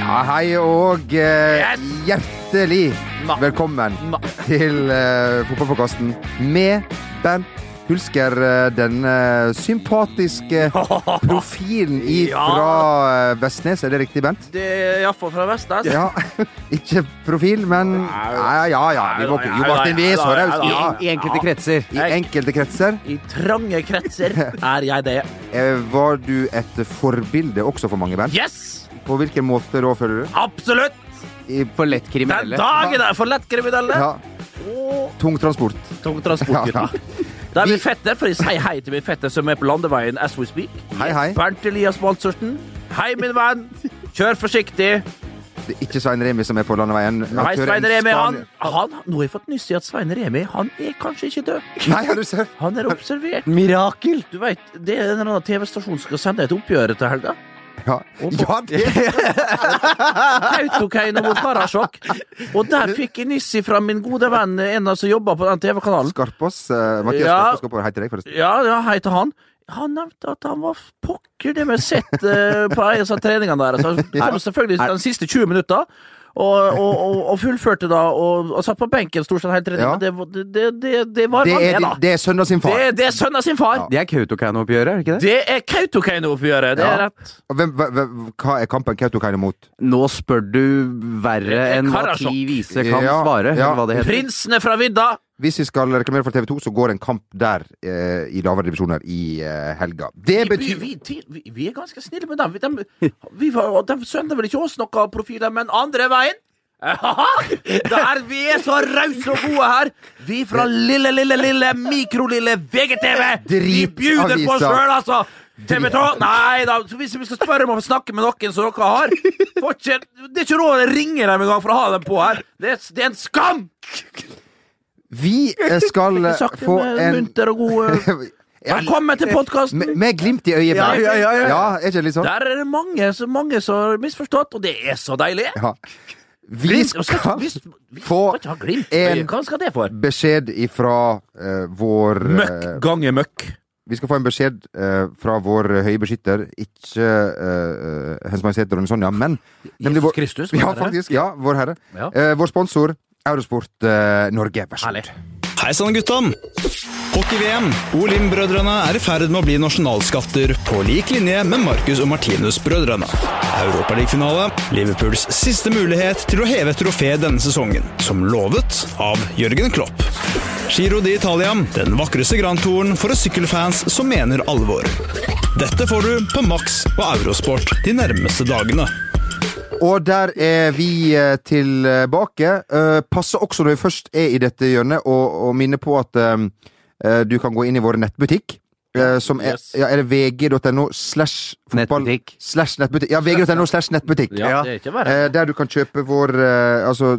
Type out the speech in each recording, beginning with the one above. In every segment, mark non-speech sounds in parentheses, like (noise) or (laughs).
Ja, hei og eh, hjertelig Ma- velkommen Ma- (laughs) til eh, Fotballforkasten med Bent Hulsker. eh, Den eh, (laughs) sympatiske profilen Ja. ifra eh, Vestnes, er det riktig, Bent? Det er iallfall fra Vestnes. Ja. (laughs) Ikke profil, men Ja, ja, ja. Vi må, jo, Martin, vi er så rause. Ja. I enkelte kretser. I enkelte kretser. I trange (laughs) kretser er jeg det. Eh, Var du et forbilde også for mange, Bent? Yes! På hvilken måte da, føler du? Absolutt! I, For lett Den kriminelle. dagen er for lettkriminelle. ja, Og tung transport. tungtransportgutten. Det er min fetter, for jeg sier hei til min fetter som er på landeveien as we speak. Hei, hei. Bernt Elias Baltzersen. Hei, min venn. Kjør forsiktig. Det er ikke Svein Remi som er på landeveien. Hei, Jeg tror en Svein Remi. Han, Spania- han, nå har jeg fått nyss i at Svein Remi han er kanskje ikke død. Nei, har du sett? Han er observert. Mirakel! Du vet, Det er en eller annen TV-stasjon som skal sende et oppgjør til helga. Ja, ja det Kautokeino mot Karasjok. Og der fikk jeg nyss fra min gode venn, en av som jobber på den TV-kanalen. Skarpaas. eh, Mathias Ja. Skarpaas går på hei til deg, forresten. Ja, ja, hei til han. Han nevnte at han var f- pokker det med sett eh, på en av treningene deres. Han kom selvfølgelig den siste 20 minutta. Og, og, og, og fullførte da, og, og satt på benken stort sett hele treninga. Ja. Det, var- det, det, det, det var Det han er, med, da. din- det er sønnen sin Det, far. det er sønnen sin far! Det er Kautokeino-oppgjøret, er det ikke det? Det er Kautokeino-oppgjøret, det er Ja. rett. Og Hvem, hva- hva- hva er kampen Kautokeino mot? Nå spør du verre Det er enn hva Karasjok. ti vise kan Ja, svare, ja. eller hva det heter. Prinsene fra vidda! Hvis vi skal reklamere for TV 2, så går en kamp der eh, i lavere divisjoner i eh, helga. Det Vi, betyr vi, til- vi, vi er ganske snille med dem. Vi- dem vi var, de sendte vel ikke oss noen profiler, men andre veien (laughs) Der Vi er så rause og gode her! Vi fra lille, lille, lille mikrolille VGTV! Vi bjuder på oss Dritavisa. sjøl, altså! TV 2 Nei da, så hvis vi skal spørre om å få snakke med noen som dere har får ikke, Det er ikke råd å ringe dem engang for å ha dem på her. Det er, det er en skam! Vi eh, skal eh, Sakte, få men en munter og god. (laughs) Velkommen til podkasten! med, med glimt i øyet. Ja, ja, ja, ja. ja, er ikke det litt sånn? Der er det mange, så mange som har misforstått, og det er så deilig! Ja. Vi Glimt, og skal, skal vi, vi få skal ikke ha glimt. en- Hva skal det for? beskjed ifra eh, vår eh, gange møkk. Vi skal få en beskjed eh, fra vår høye beskytter, ikke eh, eh, Hennes Majestet Dronning Sonja, men nemlig Jesus vår, Kristus. ja, faktisk, ja, vår herre. Ja. Eh, vår sponsor Eurosport eh, Norge, vær så Herlig. god. Hei sann, guttom! Hockey-VM. Olim-brødrene er i ferd med å bli nasjonalskatter på lik linje med Marcus og Martinus-brødrene. Europaligafinale. Liverpools siste mulighet til å heve et trofé denne sesongen, som lovet av Jørgen Klopp. Giro d'Italia, den vakreste grandtouren for sykkelfans som mener alvor. Dette får du på Max og Eurosport de nærmeste dagene. Og der er vi eh, tilbake. Eh, passer også når vi først er i dette hjørnet, og, og minne på at eh, eh, du kan gå inn i vår nettbutikk. eh, som er, Yes. ja, er det vg.no slash fotball Nettbutikk. slash nettbutikk? Ja, vg.no slash nettbutikk. Ja, det er ikke verre. Eh, der du kan kjøpe vår, eh, altså,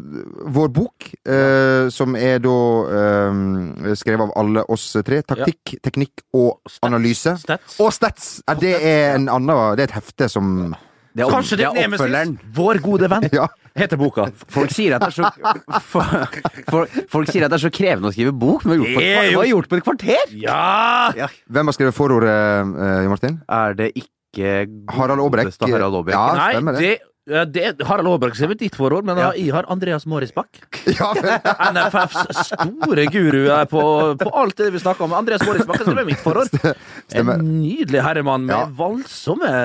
vår bok, eh, som er da eh, skrevet av alle oss tre. Taktikk, teknikk og stats. analyse. Stats. Eh, Og stats! Ja, det er en annen, det er et hefte som Det er, opp, Kanskje det det er er oppfølgeren. nemesis? Vår gode venn Ja. heter (laughs) boka. Folk sier, at det er så, (laughs) for, for, folk sier at det er så krevende å skrive bok, men det har vi gjort på et kvarter! Ja! Hvem har skrevet forordet, eh, Jon Martin? Er det ikke Harald Aabrekk. godeste Harald Aabrekk? Ja, Nei, stemmer det. det, ja, det Harald Aabrekk skrev ditt forord, men da, jeg har Andreas Morrisbakk. (laughs) Ja, men, NFFs store guru er på, på alt det vi snakker om. Andreas Morrisbakk skrev mitt forord. En (laughs) Stemmer. nydelig herremann med Ja. voldsomme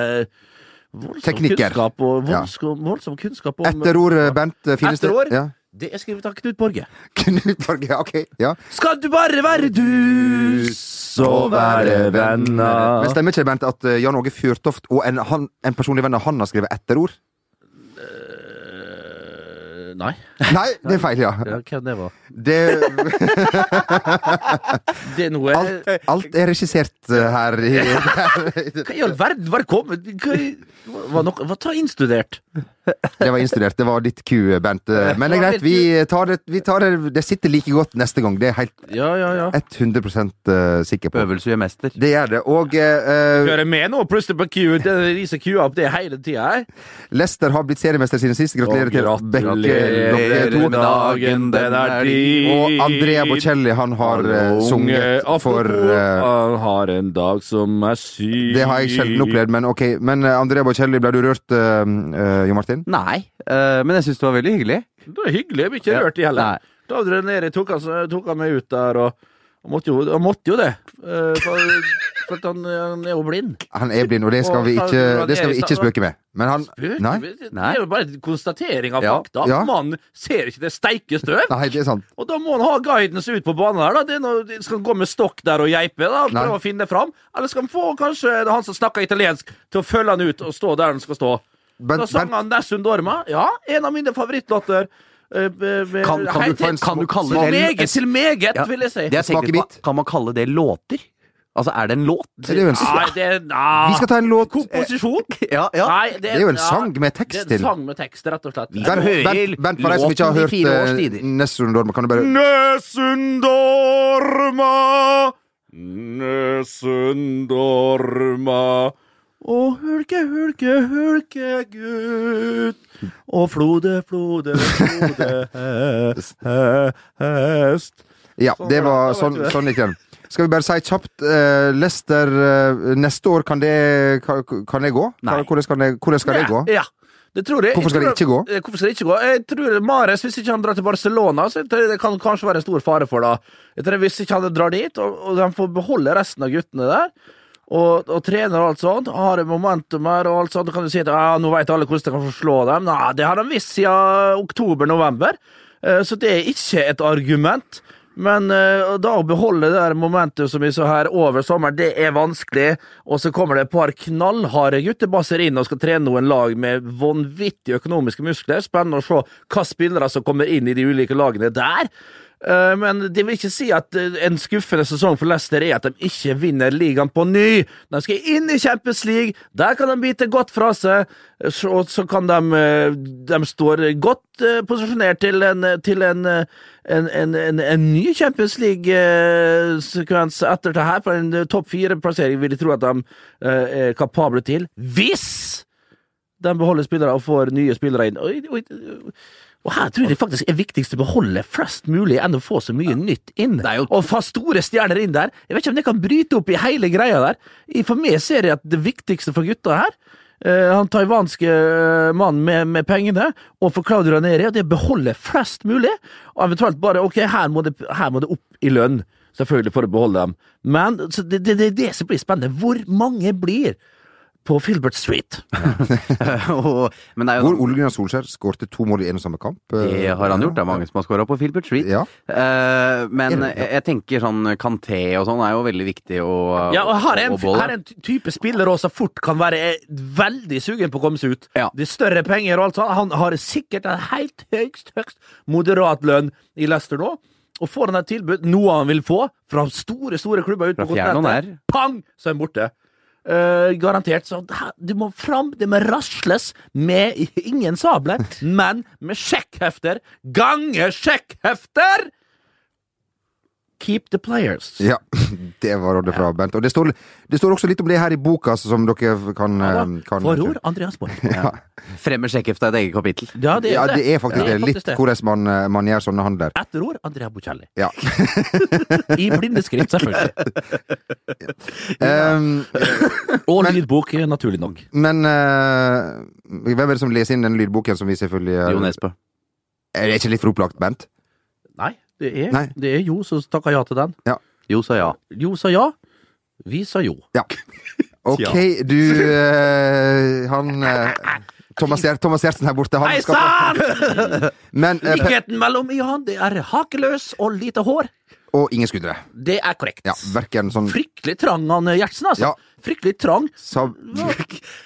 voldsom Teknikker. Kunnskap og Ja. voldsk, voldsom kunnskap om Etterord, eh, Bent eh, Finnes det- Etterord? Ja. (laughs) Det er skrevet av Knut Borge. Knut Borge, ok. Ja. Skal du bare være du, så være venner Men stemmer ikke det, Bent, at eh, Jan Åge Fjørtoft og en, han, en personlig venn av han har skrevet (laughs) etterord? Eh, Nei. Nei, det er feil, ja. Ja, hvem det var? Det Det er noe Alt, alt er regissert uh, her. i- Hva i all verden? Bare kom Hva, var noe, var ta innstudert? Det var innstudert. Det var ditt Q, Bent. Uh, Men det er greit. Vi tar det, vi tar det Det sitter like godt neste gang. Det er jeg Ja, ja, ja. helt 100 uh, sikker på. Øvelse gjør mester. Det gjør det. Og uh, Hører med nå, plutselig på Q. Det riser Q opp det hele tida her. Leicester har blitt seriemester siden sist. Gratulerer til Bekke dere Gratulerer to. med dagen, den er din. Og Andrea Bocelli, han har uh, sunget for uh, Han har en dag som er syk eh, det har jeg sjelden opplevd, men ok. Men uh, Andrea Bocelli, ble du rørt, uh, uh, Jo Martin? Nei, eh, men jeg syns det var veldig hyggelig. Det var hyggelig, jeg blir ikke Ja. rørt i heller. Nei. Da drenere tok han, tok han meg ut der, og han måtte jo, han måtte jo det. eh, For, for at han, han er jo blind. Han er blind, og det skal vi ikke, det skal vi ikke spøke med. Men han Nei, Det Nei. er jo bare en konstatering av Ja. fakta. Ja. Mannen ser ikke det steike støv. nei det er sant. Og da må han ha guidance ut på banen her, da. Det er noe, de skal han gå med stokk der og geipe, da. og Nei. Prøve å finne fram. Eller skal han få kanskje han som snakker italiensk, til å følge han ut og stå der han skal stå. Bent, da sang Bent, han Nessun Dorma. Ja, en av mine favorittlåter. eh, med- med- Kan, kan, Hei, du, kan, du kalle Til det meget, til meget, Ja, vil jeg si. det jeg Smak i tenker på, mitt. Kan man kalle det låter? Altså, er det en låt? er det jo en, Nei, det er nei. vi skal ta en låt. Komposisjon? (laughs) Ja, ja. Nei, Det er jo en ja, sang med tekst Det er til. en sang med tekst, rett og slett. skal Bent, høre Bent, Bent, for deg som ikke har låten i hørt fire års eh, tider. Nessun Dorma, kan du Mm. bare Nesundorma, Nesundorma. Å, hulke, hulke, hulke, gutt. Å, flode, flode, flode, he- he- hest. Ja, Sånn det var var det. Da vet sånn, vi det. sånn gikk den. Skal vi bare si kjapt eh, Leicester eh, neste år, kan det, kan, kan det gå? Nei. Kan, hvordan, kan det, hvordan skal det gå? Ja, det tror jeg. Hvorfor skal Jeg det tror- ikke Eh, Hvorfor skal det ikke gå? Jeg tror Mares, hvis ikke han drar til Barcelona, så jeg tror det kan kanskje være en stor fare for det. Jeg tror Hvis ikke han drar dit, og, og de får beholde resten av guttene der, og, og trener og alt sånt, har momentum her og alt sånt, da kan du si at ja, nå vet alle hvordan de kan forslå dem. Nei, det har de visst siden oktober-november, Eh, så det er ikke et argument. Men eh, og da å beholde det der momentet som vi så her over sommeren, det er vanskelig. Og så kommer det et par knallharde guttebasser inn og skal trene noen lag med vanvittige økonomiske muskler. Spennende å se hva spillere som kommer inn i de ulike lagene der. Eh, Men det vil ikke si at eh, en skuffende sesong for Leicester er at de ikke vinner ligaen på ny. De skal inn i Champions League, der kan de bite godt fra seg. eh, så- Og så kan de eh, De står godt eh, posisjonert til en, til en, eh, en, en, en, en ny Champions League-sekvens etter det her. På en eh, topp fire-plassering vil jeg tro at de eh, er kapable til. Hvis de beholder spillere og får nye spillere inn. Og, og, og her tror jeg det faktisk er viktigst å beholde flest mulig enn å få så mye nytt inn. er jo- Og få store stjerner inn der. Jeg vet ikke om det kan bryte opp i hele greia der. I- For meg ser jeg at det viktigste for gutta her eh, han taiwanske eh, mannen med, med pengene, og for Claudio Raneri, det er å beholde flest mulig. Og eventuelt bare ok, her må det, her må det opp i lønn, selvfølgelig, for å beholde dem. Men så det det- det er det, som blir spennende. Hvor mange blir på Filbert Street? (laughs) Og- men det er jo Hvor Ole Gunnar Solskjær skårte to mål i en og samme kamp. eh, Det har han gjort. Det er mange som har scora på Filbert Street. Ja. Eh, men Ja. jeg jeg tenker sånn Kanté og sånn er jo veldig viktig å Ja, og her er en, å beholde. her er en ty- type spiller også som fort kan være eh, veldig sugen på å komme seg ut. Ja. De større penger og alt sånt. Han har sikkert en helt høyst, høyst moderat lønn i Leicester nå. Og får han et tilbud, noe han vil få, fra store store klubber ute Fra på fjern og kontinentet, pang, så er han borte. Eh, garantert. Så her- det må fram, det må rasles med ingen sabler, men med sjekkhefter. Gange sjekkhefter! Keep the players. Ja, (laughs) det var rådet fra Bent. Og det står, det står også litt om det her i boka, så som dere kan, Ja, eh, kan Forord Andreas Borg. Fremmer sjekkhefta et eget kapittel. Ja, det, Ja, det er faktisk det. Litt hvordan man, eh, man gjør sånne handler. Etterord Andrea Bocelli. Ja. (laughs) I blinde skrift, (laughs) selvfølgelig. Ehm, Og lydbok, eh, naturlig nok. men eh, hvem er det som leser inn den lydboken som vi selvfølgelig Jo Nesbø. Er det ikke litt for opplagt, Bent? Nei, det er, Nei. Det er jo som takka ja til den. Jo, sa ja. Jo sa ja, vi sa jo. (laughs) Ja. Ok, du eh, Han eh, Thomas, Gjer- Thomas Gjertsen her borte, han Hei skal få (laughs) sann! Men eh, Pe- Likheten mellom Jan, det er hakeløs og lite hår. Og ingen skuddere. Det er korrekt. Ja, verken sånn Fryktelig trang, han Gjertsen, altså. Ja. Fryktelig (laughs) trang. sab... Det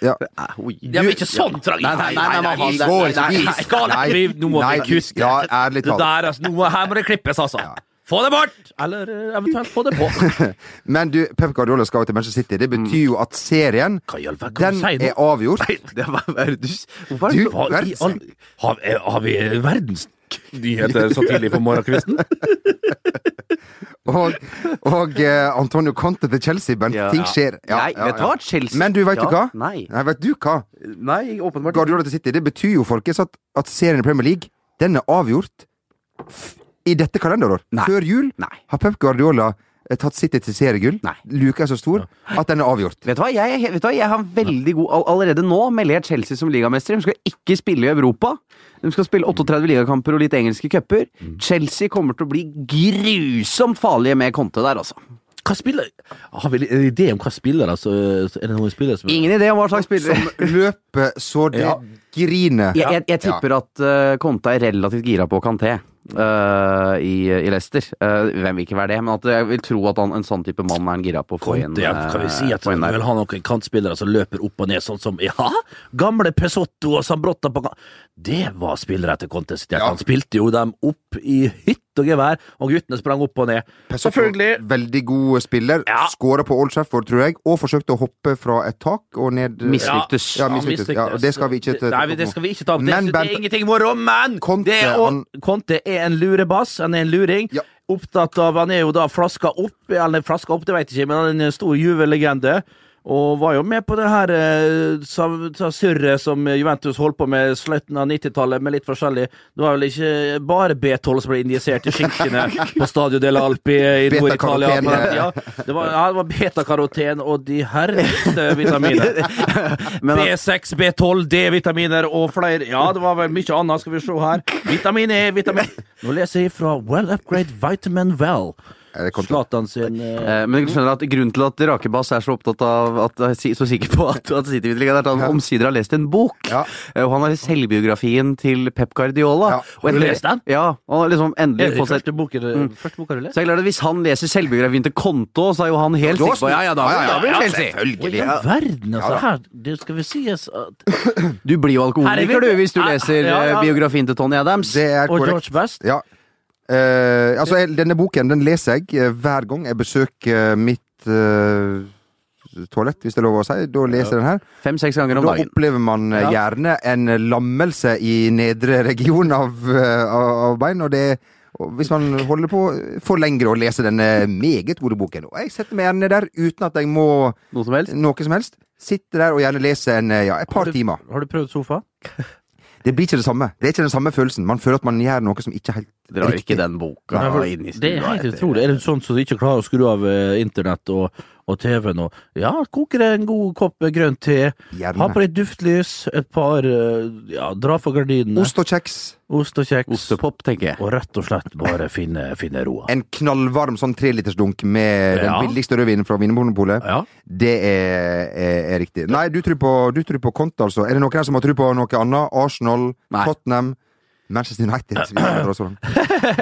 er jo ikke sånn trang. Nei, nei, nei, nei, vi nei, nei, går nei, ikke. Vi nei, skal nei, ikke drive- Nå må nei, vi kutte. ja, ærlig Det talt. der, altså. Noe her må det klippes, altså. Få det bort! Eller eh, eventuelt få det på. Men du, Pep Guardiola skal jo til Manchester City. Det betyr jo at serien Hva i all verden den kan du si nå? (laughs) er avgjort. Det var, hva er det du s- Hvorfor Du, er det Hva i verdens- all- har, er- har vi verdensnyheter så tidlig på morgenkvisten? Og, og eh, Antonio Conte til Chelsea, Bent. Ja. Ting skjer. Ja, Nei, ja, vet du ja. hva? Chelsea Men du, vet ja, du hva? Nei. Nei, vet du hva? nei, åpenbart ikke. Guardiola til City, det betyr jo, folkens, at, at serien i Premier League, den er avgjort f i dette kalenderår. Nei. Før jul Nei. har Pep Guardiola eh, tatt City til seriegull. Nei. Luka er så stor at den er avgjort. Vet du hva, jeg, vet du hva? jeg har veldig god all- Allerede nå melder jeg Chelsea som ligamester. De skal ikke spille i Europa. De skal spille 38 ligakamper og litt engelske cuper. Mm. Chelsea kommer til å bli grusomt farlige med Conte der, altså. Hva spiller Har vi en idé om hva spiller, altså? Er det noen spillere som Ingen idé om hva slags spillere Som løper så det Ja. griner. Jeg, jeg, jeg tipper at eh, Conte er relativt gira på Kanté eh, i, i Leicester. Eh, hvem vil ikke være det, men at jeg vil tro at han, en sånn type mann er han gira på å få inn. Conte, ja, kan vi si eh, at få vi inn der. vil ha noen kantspillere som løper opp og ned, sånn som ja, gamle Pesotto og Sambrotta på kant. Det var spillere etter Conte sitt hjerte. Ja. Han spilte jo dem opp i hytt og gevær, og guttene sprang opp og ned. Pesotto, Selvfølgelig. Veldig god spiller. Ja. Skåra på Old Trafford, tror jeg, og forsøkte å hoppe fra et tak og ned Mislyktes. Ja, mislyktes. Ja, og det skal vi ikke ta- Nei, det skal vi ikke ta opp. Det, Men det Bent- er ingenting moro, men Conte, det er, å- han- Conte er en lurebass. Han er en luring. Ja. Opptatt av Han er jo da flaska opp, eller flaska opp, det vet jeg ikke, men han er en stor Juve-legende. Og var jo med på det her eh, sam- sa- surret som Juventus holdt på med i slutten av 90-tallet, med litt forskjellig. Det var vel ikke bare B12 som ble injisert i skinkene på Stadio del Alpi i Nord-Italia. på den tida. Det var, ja, det var betakaroten og de herligste vitaminer. (laughs) Men at- B6, B12, D-vitaminer og flere Ja, det var vel mye annet. Skal vi se her. Vitamin E, vitamin (laughs) Nå leser jeg fra Well Upgrade Vitamin Well. Er det Conte? Zlatan sin eh, Eh, Men du skjønner at grunnen til at Rakebass er så opptatt av at, er si- så sikker på at, at City vil ligge der, er at han omsider har lest en bok. Ja. Eh, Og han har lest selvbiografien til Pep Guardiola. Ja. Og endelig- Har du lest den? Ja. Han har liksom Er endelig det fått seg første boken Første boka du så jeg er klart at Hvis han leser selvbiografien til Konto, så er jo han helt Da sikker på Ja, ja, da, ja, ja, da blir ja, det Chelsea. selvfølgelig. Ja, verden, altså. Ja, da. her, det skal vi sies at Du blir jo alkoholiker, Herregud. du, hvis du Ja, leser ja, ja. eh, biografien til Tony Adams. Det er Og korrekt. George Best. Ja. Eh, altså, jeg, denne boken den leser jeg eh, hver gang jeg besøker mitt eh, toalett, hvis det er lov å si. Da leser jeg den her. Fem-seks ganger om Da dagen. opplever man eh, gjerne en lammelse i nedre region av, eh, av, av bein, og det og hvis man holder på for lenge å lese denne meget gode boken. Og jeg setter meg gjerne der uten at jeg må Noe som helst. noe som helst. Sitter der og gjerne leser en, eh, ja, et par Har du- timer. Har du prøvd sofa? Det blir ikke det samme. Det er ikke den samme følelsen. Man føler at man gjør noe som ikke helt Drar jo Riktig. ikke den boka Nei, for- inn i stua. Det er helt etter- utrolig. Er det sånn som du ikke klarer å skru av eh, internett og, og TV-en og Ja, koker en god kopp med grønt te, ha Gjerne. på litt duftlys, et par eh, Ja, dra for gardinene. Ost og kjeks. Ost og kjeks. Ostepop, tenker jeg. Og rett og slett bare finne, finne roa. En knallvarm sånn trelitersdunk med Ja. den billigste rødvinen fra Vinmonopolet. Ja. Det er, er, er riktig. Nei, du tror på, du tror på Conte, altså. Er det noen her som har tro på noe annet? Arsenal, Nei. Tottenham, Manchester United vi kjenner oss sånn.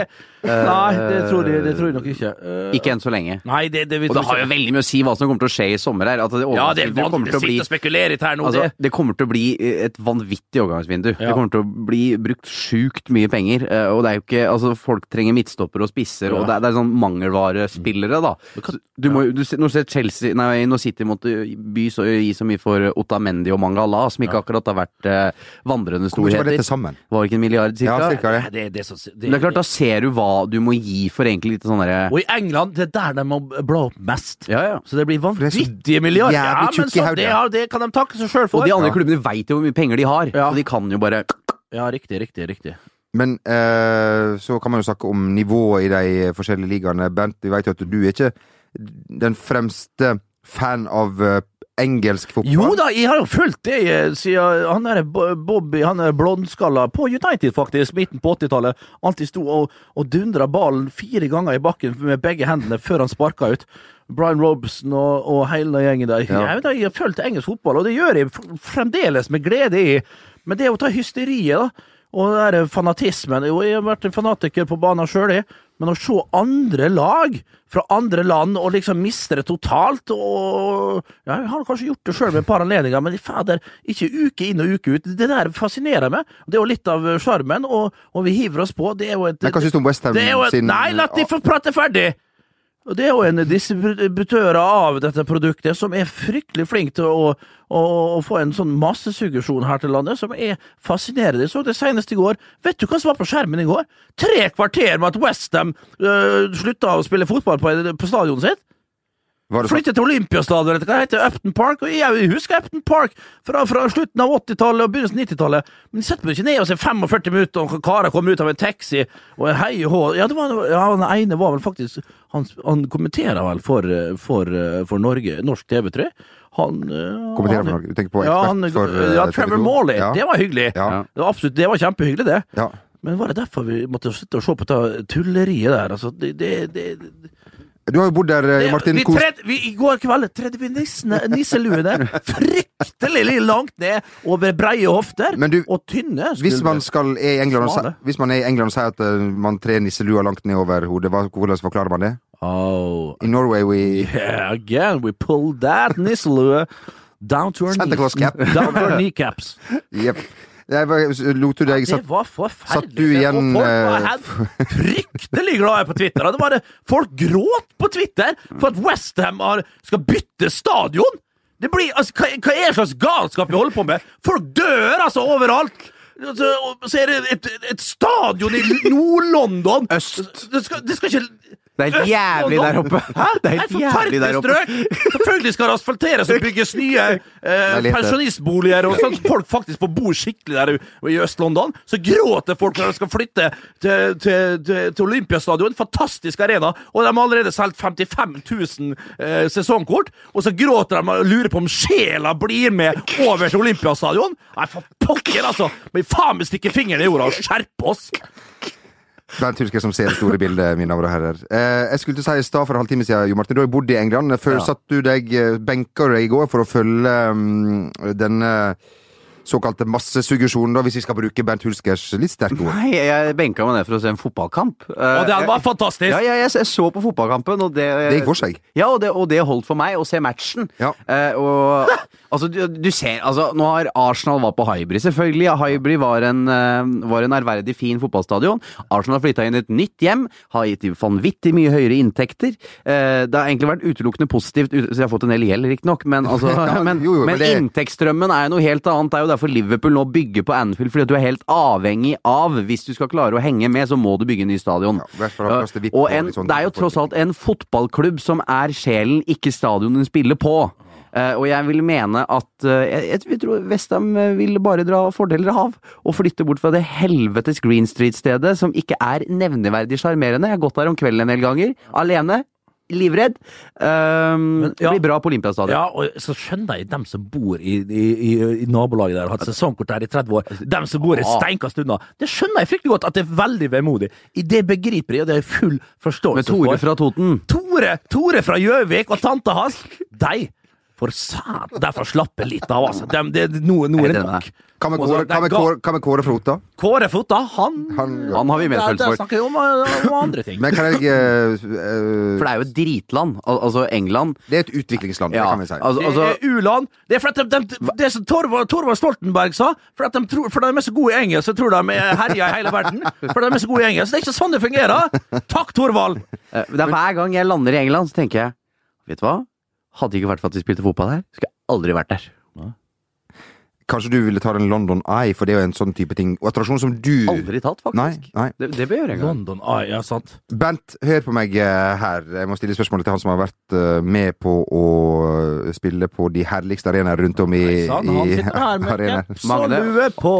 (clears throat) Nei, det tror jeg, det tror jeg nok ikke. Eh, Ikke enn så lenge. Nei, det, det vil Og det har jo veldig mye å si hva som kommer til å skje i sommer her. At det Ja, det er overgangsvinduet kommer vanskelig til å å bli sitte og spekulere i det her nå. Altså, det. det kommer til å bli eh, et vanvittig overgangsvindu. Ja. Det kommer til å bli brukt sjukt mye penger. eh, Og det er jo ikke Altså, folk trenger midtstoppere og spisser, og det Ja. er, det er sånn mangelvarespillere, da. Så Du må, jo- du, ser- når du ser Chelsea Nei, når City måtte eh, by så, gi så mye for Otamendi og Mangala, som ikke akkurat har vært eh, vandrende Hvor mye var det til storheter. sammen? Var ikke en milliard, Ja, cirka? cirka det. Nei, det, det, er så- det, det er klart, altså. da ser du hva du må gi for egentlig litt sånn derre Og i England, det er der de må bla opp mest. ja, ja. Så det blir det er så vanvittige milliarder. Ja, jævlig men tjukke så, hauger. det, har- det kan de takke seg sjøl Og for. de andre Ja. klubbene veit jo hvor mye penger de har, Ja. så de kan jo bare Ja, riktig, riktig, riktig. Men eh, så kan man jo snakke om nivået i de forskjellige ligaene. Bernt, vi vet jo at du er ikke den fremste fan av eh, engelsk fotball. Jo da, jeg har jo fulgt det eh, siden han der Bo- Bobby, han der blondskalla, på United faktisk, midten på 80-tallet. Alltid sto og, og dundra ballen fire ganger i bakken med begge hendene før han sparka ut. Brian Robson og, og hele gjengen der. Jeg, vet da, jeg har fulgt engelsk fotball, og det gjør jeg f- fremdeles med glede i. Men det å ta hysteriet, da. Og det der fanatismen Jo, jeg har vært en fanatiker på banen sjøl, jeg. Men å se andre lag fra andre land og liksom miste det totalt og ja, Jeg har kanskje gjort det sjøl ved et par anledninger, men fader, ikke uke inn og uke ut. Det der fascinerer meg. Det er jo litt av sjarmen, og, og vi hiver oss på. Det er jo et Men hva syns du om Westham det er jo, sin Nei, la de få prate ferdig! Og Det er jo en distributør av dette produktet som er fryktelig flink til å, å, å få en sånn massesuggesjon her til landet, som er fascinerende. Jeg så det senest i går. Vet du hva som var på skjermen i går? Tre kvarter med at Westham øh, slutta å spille fotball på, på stadionet sitt! Var det sånn? Flyttet til Olympiastadion, eller hva heter det, Upton Park. Og jeg husker Upton Park fra, fra slutten av 80-tallet og begynnelsen av 90-tallet. Men jeg setter meg ikke ned og ser 45 minutter og karer komme ut av en taxi og en hei og hå. Ja, det var, ja, han ene var vel faktisk Han, han kommenterer vel for, eh, for, eh, for Norge, norsk TV, tror jeg. Han eh, Kommenterer han- for Norge. Du tenker på ja, ekspert han, for, eh, ja, Trevor TV2. Morley. Ja. Det var hyggelig. Ja. Det var absolutt, det var kjempehyggelig, det. Ja. Men var det derfor vi måtte sitte og se på det tulleriet der? Altså, det, det, det, det, Du har jo bodd der, eh, Martin. vi, Kos- tred, vi, I går kveld tredde vi nissene, nisseluene fryktelig langt ned over breie hofter Men du, og tynne. Hvis skuldre. man, skal, er i England, og si- Smale. hvis man er i England og sier at eh, man trer nisselua langt ned over hodet, hva- hvordan forklarer man det? oh, I Norway we yeah, Again, we pulled that nisselue down to our, Santa knees, Claus cap. down to our kneecaps. Jepp. Jeg var- Lot du deg satt det var forferdelig. satt du igjen, og folk var eh, (laughs) helt fryktelig glade på Twitter. Og det var det, folk gråt på Twitter for at Westham skal bytte stadion! Det blir, altså, hva, hva er slags galskap vi holder på med? Folk dør altså overalt! Altså, og Så er det et, et stadion i Nord-London Øst. Det skal, det skal ikke Det er helt Øst-London. jævlig der oppe. Hæ? Det er helt jævlig der oppe. forferdelig strøk! Selvfølgelig skal det asfalteres og bygges nye eh, Leiligheter. pensjonistboliger, og sånn at folk faktisk får bo skikkelig der i- i Øst-London. Så gråter folk når de skal flytte til, til, til, til Olympiastadion. Fantastisk arena, og de har allerede solgt 55 000 eh, sesongkort. Og så gråter de og lurer på om sjela blir med over til Olympiastadion. Nei, for pokker, altså! Men faen meg stikke fingeren i jorda og skjerpe oss! Det er en tursker som ser det store bildet, mine damer og herrer. Eh, jeg skulle til å si i stad for en halvtime siden, Jo Martin, du har jo bodd i England. Før satt du deg eh, benka deg i går for å følge um, denne såkalte massesuggesjonen, da, hvis vi skal bruke Bernt Hulskers litt sterke ord. Nei, jeg benka meg ned for å se en fotballkamp. Eh, Og det var fantastisk! Ja, ja, jeg, jeg så på fotballkampen, og det Det gikk for seg. Ja, og det, og det holdt for meg å se matchen. Ja. Eh, og altså, du, du ser altså, Nå har Arsenal var på Hybrid, selvfølgelig. Ja, Hybrid var en, eh, var en ærverdig fin fotballstadion. Arsenal har flytta inn i et nytt hjem, har gitt de vanvittig mye høyere inntekter. Eh, det har egentlig vært utelukkende positivt, ut- så jeg har fått en del gjeld, riktignok, men, (laughs) altså, Ja, men, jo, jo, men men det- inntektsstrømmen er jo noe helt annet. Det er jo derfor Liverpool nå bygger på Anfield, fordi at du er helt avhengig av, hvis du skal klare å henge med, så må du bygge en ny stadion. i hvert fall ha plass til Eh, VIP og og en, litt sånn- det er jo tross alt en fotballklubb som er sjelen, ikke stadion den spiller på. Eh, og jeg vil mene at eh, jeg, jeg vil tro Westham eh, vil bare dra fordeler av og flytte bort fra det helvetes Green Street-stedet som ikke er nevneverdig sjarmerende. Jeg har gått der om kvelden en del ganger, alene. Livredd. Um, ja. Blir bra på Olympiastadion. Ja, og så skjønner jeg dem som bor i, i, i, i nabolaget der og har hatt sesongkort der i 30 år. Altså, Dem som bor et ah. steinkast unna. Det skjønner jeg fryktelig godt at det er veldig vemodig. I det begriper jeg, og det er jeg full Med forståelse Tore for. fra Toten. Tore, Tore fra Gjøvik og tanta hans, de for satan, derfor slapper litt av, altså. Dem- det, nå, nå Nei, er det den er- nok. Kan vi Og kåre, så- kan vi den ga- kåre, kan vi kåre Frota? Kåre Fota, han, Han, Han har vi Der, medfølelse der for. snakker vi om, eh, om andre ting. Men kan jeg eh, eh, For det er jo et dritland. Al altså England. Det er et utviklingsland, det Ja, kan vi si. altså, altså, det er u-land. Det er for at de, de, det som Torvald, Torvald Stoltenberg sa, for at de, tror, for de er så gode i engelsk, så tror de er herja i hele verden. For de er så gode i engelsk. Det er ikke sånn det fungerer! Takk, Torvald! Eh, Det er hver gang jeg lander i England, så tenker jeg Vet du hva? Hadde det ikke vært for at de spilte fotball her, skulle jeg aldri vært der. Kanskje du ville ta den London Eye, for det er jo en sånn type ting. Og attraksjon som du Aldri tatt, Nei, faktisk. nei. Det, det bør jeg gjøre en gang. London Eye, ja, sant. Bent, hør på meg eh, her. Jeg må stille spørsmålet til han som har vært eh, med på å eh, spille på de herligste arenaer rundt om i, Sånn, han i sitter her med arenaer. caps og Magne. lue på.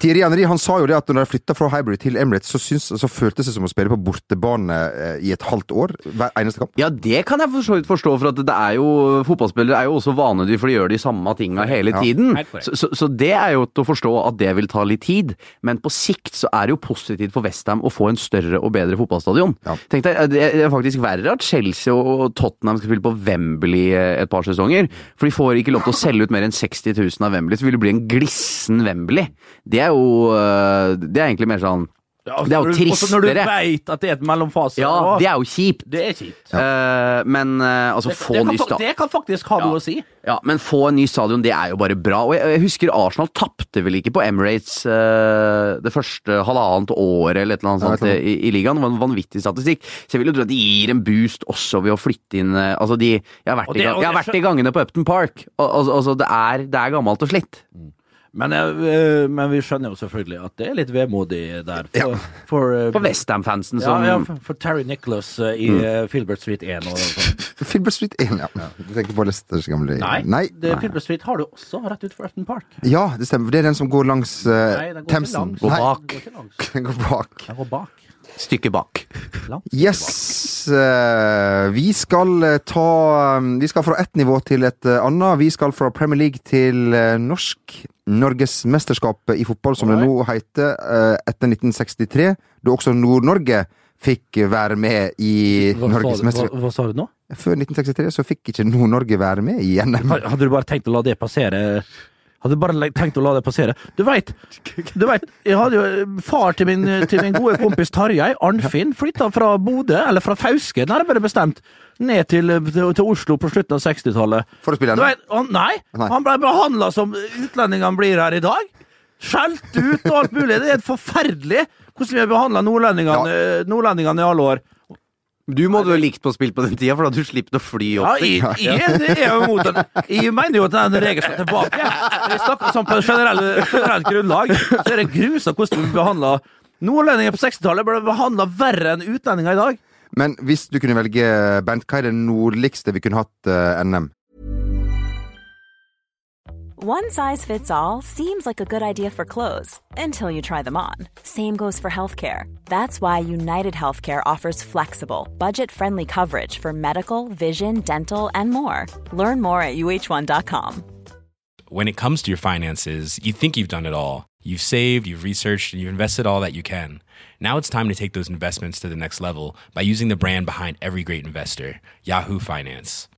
Thierry Henry han sa jo det at når de flytta fra Hybrid til Emirates, så, syns, så føltes det som å spille på bortebane eh, i et halvt år. Hver eneste kamp. Ja, det kan jeg for så vidt forstå, for at det er jo, fotballspillere er jo også vanedyr, for de gjør de samme tinga hele Ja, tiden. helt korrekt. Så, så, så det er jo til å forstå at det vil ta litt tid, men på sikt så er det jo positivt for Westham å få en større og bedre fotballstadion. Ja. Tenk deg, Det er faktisk verre at Chelsea og Tottenham skal spille på Wembley eh, et par sesonger, for de får ikke lov til å selge ut mer enn 60 000 av Wembley, så vil det bli en glissen Wembley. Det er jo øh, Det er egentlig mer sånn Det er jo Også når du tristere. veit at det er et mellomfase. Ja, Å, det er jo kjipt. det er kjipt. Eh, men eh, altså, få det, ny kan, fa- stad. det kan faktisk ha Ja. noe å si. Ja, men få en ny stadion, det er jo bare bra. Og jeg, jeg husker Arsenal tapte vel ikke på Emirates eh, det første halvannet året eller et eller Ja, annet sånt eh, jeg tror i, i ligaen. Det var en vanvittig statistikk. Så jeg vil jo tro at de gir en boost også ved å flytte inn eh, Altså, de Jeg har vært, Og det- i, og gang, jeg har det- vært i gangene på Upton Park. Al- Altså, altså det, er, det er gammelt og slitt. Men, jeg, eh, men vi skjønner jo selvfølgelig at det er litt vemodig der. For, for, eh, For Westham-fansen ja, som Mm. ja, for, for Terry Nicholas eh, i eh, Filbert Street 1. Og, og. Filbert Street 1, ja. Du tenker på Leicesters gamle Nei, Nei. Det, Filbert Street har du også rett utenfor Afton Park. Ja, det stemmer. Det er den som går langs eh, Nei, den går ikke Themsen. langs. Går Nei, (laughs) bak. Den går ikke langs. Den går bak. Den går bak. Stykket bak. Langt. Yes. eh, vi skal eh, ta eh, Vi skal fra ett nivå til et eh, annet. Vi skal fra Premier League til eh, norsk. Norgesmesterskapet i fotball, som det nå heter, eh, etter 1963, da også Nord-Norge fikk være med i Hva, sa du- Norgesmesterskapet. hva, hva sa du nå? Før 1963 så fikk ikke Nord-Norge være med i NM. Har- Hadde du bare tenkt å la det passere? Hadde du bare le- tenkt å la det passere? Du veit, du vet, jeg hadde jo eh, far til min, til min gode kompis Tarjei, Arnfinn, flytta fra Bodø, eller fra Fauske, nærmere bestemt, ned til, til, til Oslo på slutten av 60-tallet. For å spille Du NM. vet, han, nei, Nei. han ble behandla som utlendingene blir her i dag. Skjelt ut og alt mulig. Det er helt forferdelig hvordan vi har behandla nordlendingene, eh, nordlendingene i alle år. Du må du ha likt på å spille på den tida, for da du slipper å fly Ja, opp. jeg, jeg, det er jo mot den. Jeg mener jo at den regelen skal tilbake. Jeg snakker sånn på generell, generelt grunnlag. Så er det grusomt hvordan vi behandler Nordlendinger på 60-tallet ble behandla verre enn utlendinger i dag. Men hvis du kunne velge, Bent, hva er det nordligste vi kunne hatt eh, NM? One size fits all seems like a good idea for clothes until you try them on. Same goes for healthcare. That's why United Healthcare offers flexible, budget friendly coverage for medical, vision, dental, and more. Learn more at uh1.com. When it comes to your finances, you think you've done it all. You've saved, you've researched, and you've invested all that you can. Now it's time to take those investments to the next level by using the brand behind every great investor, Yahoo Finance.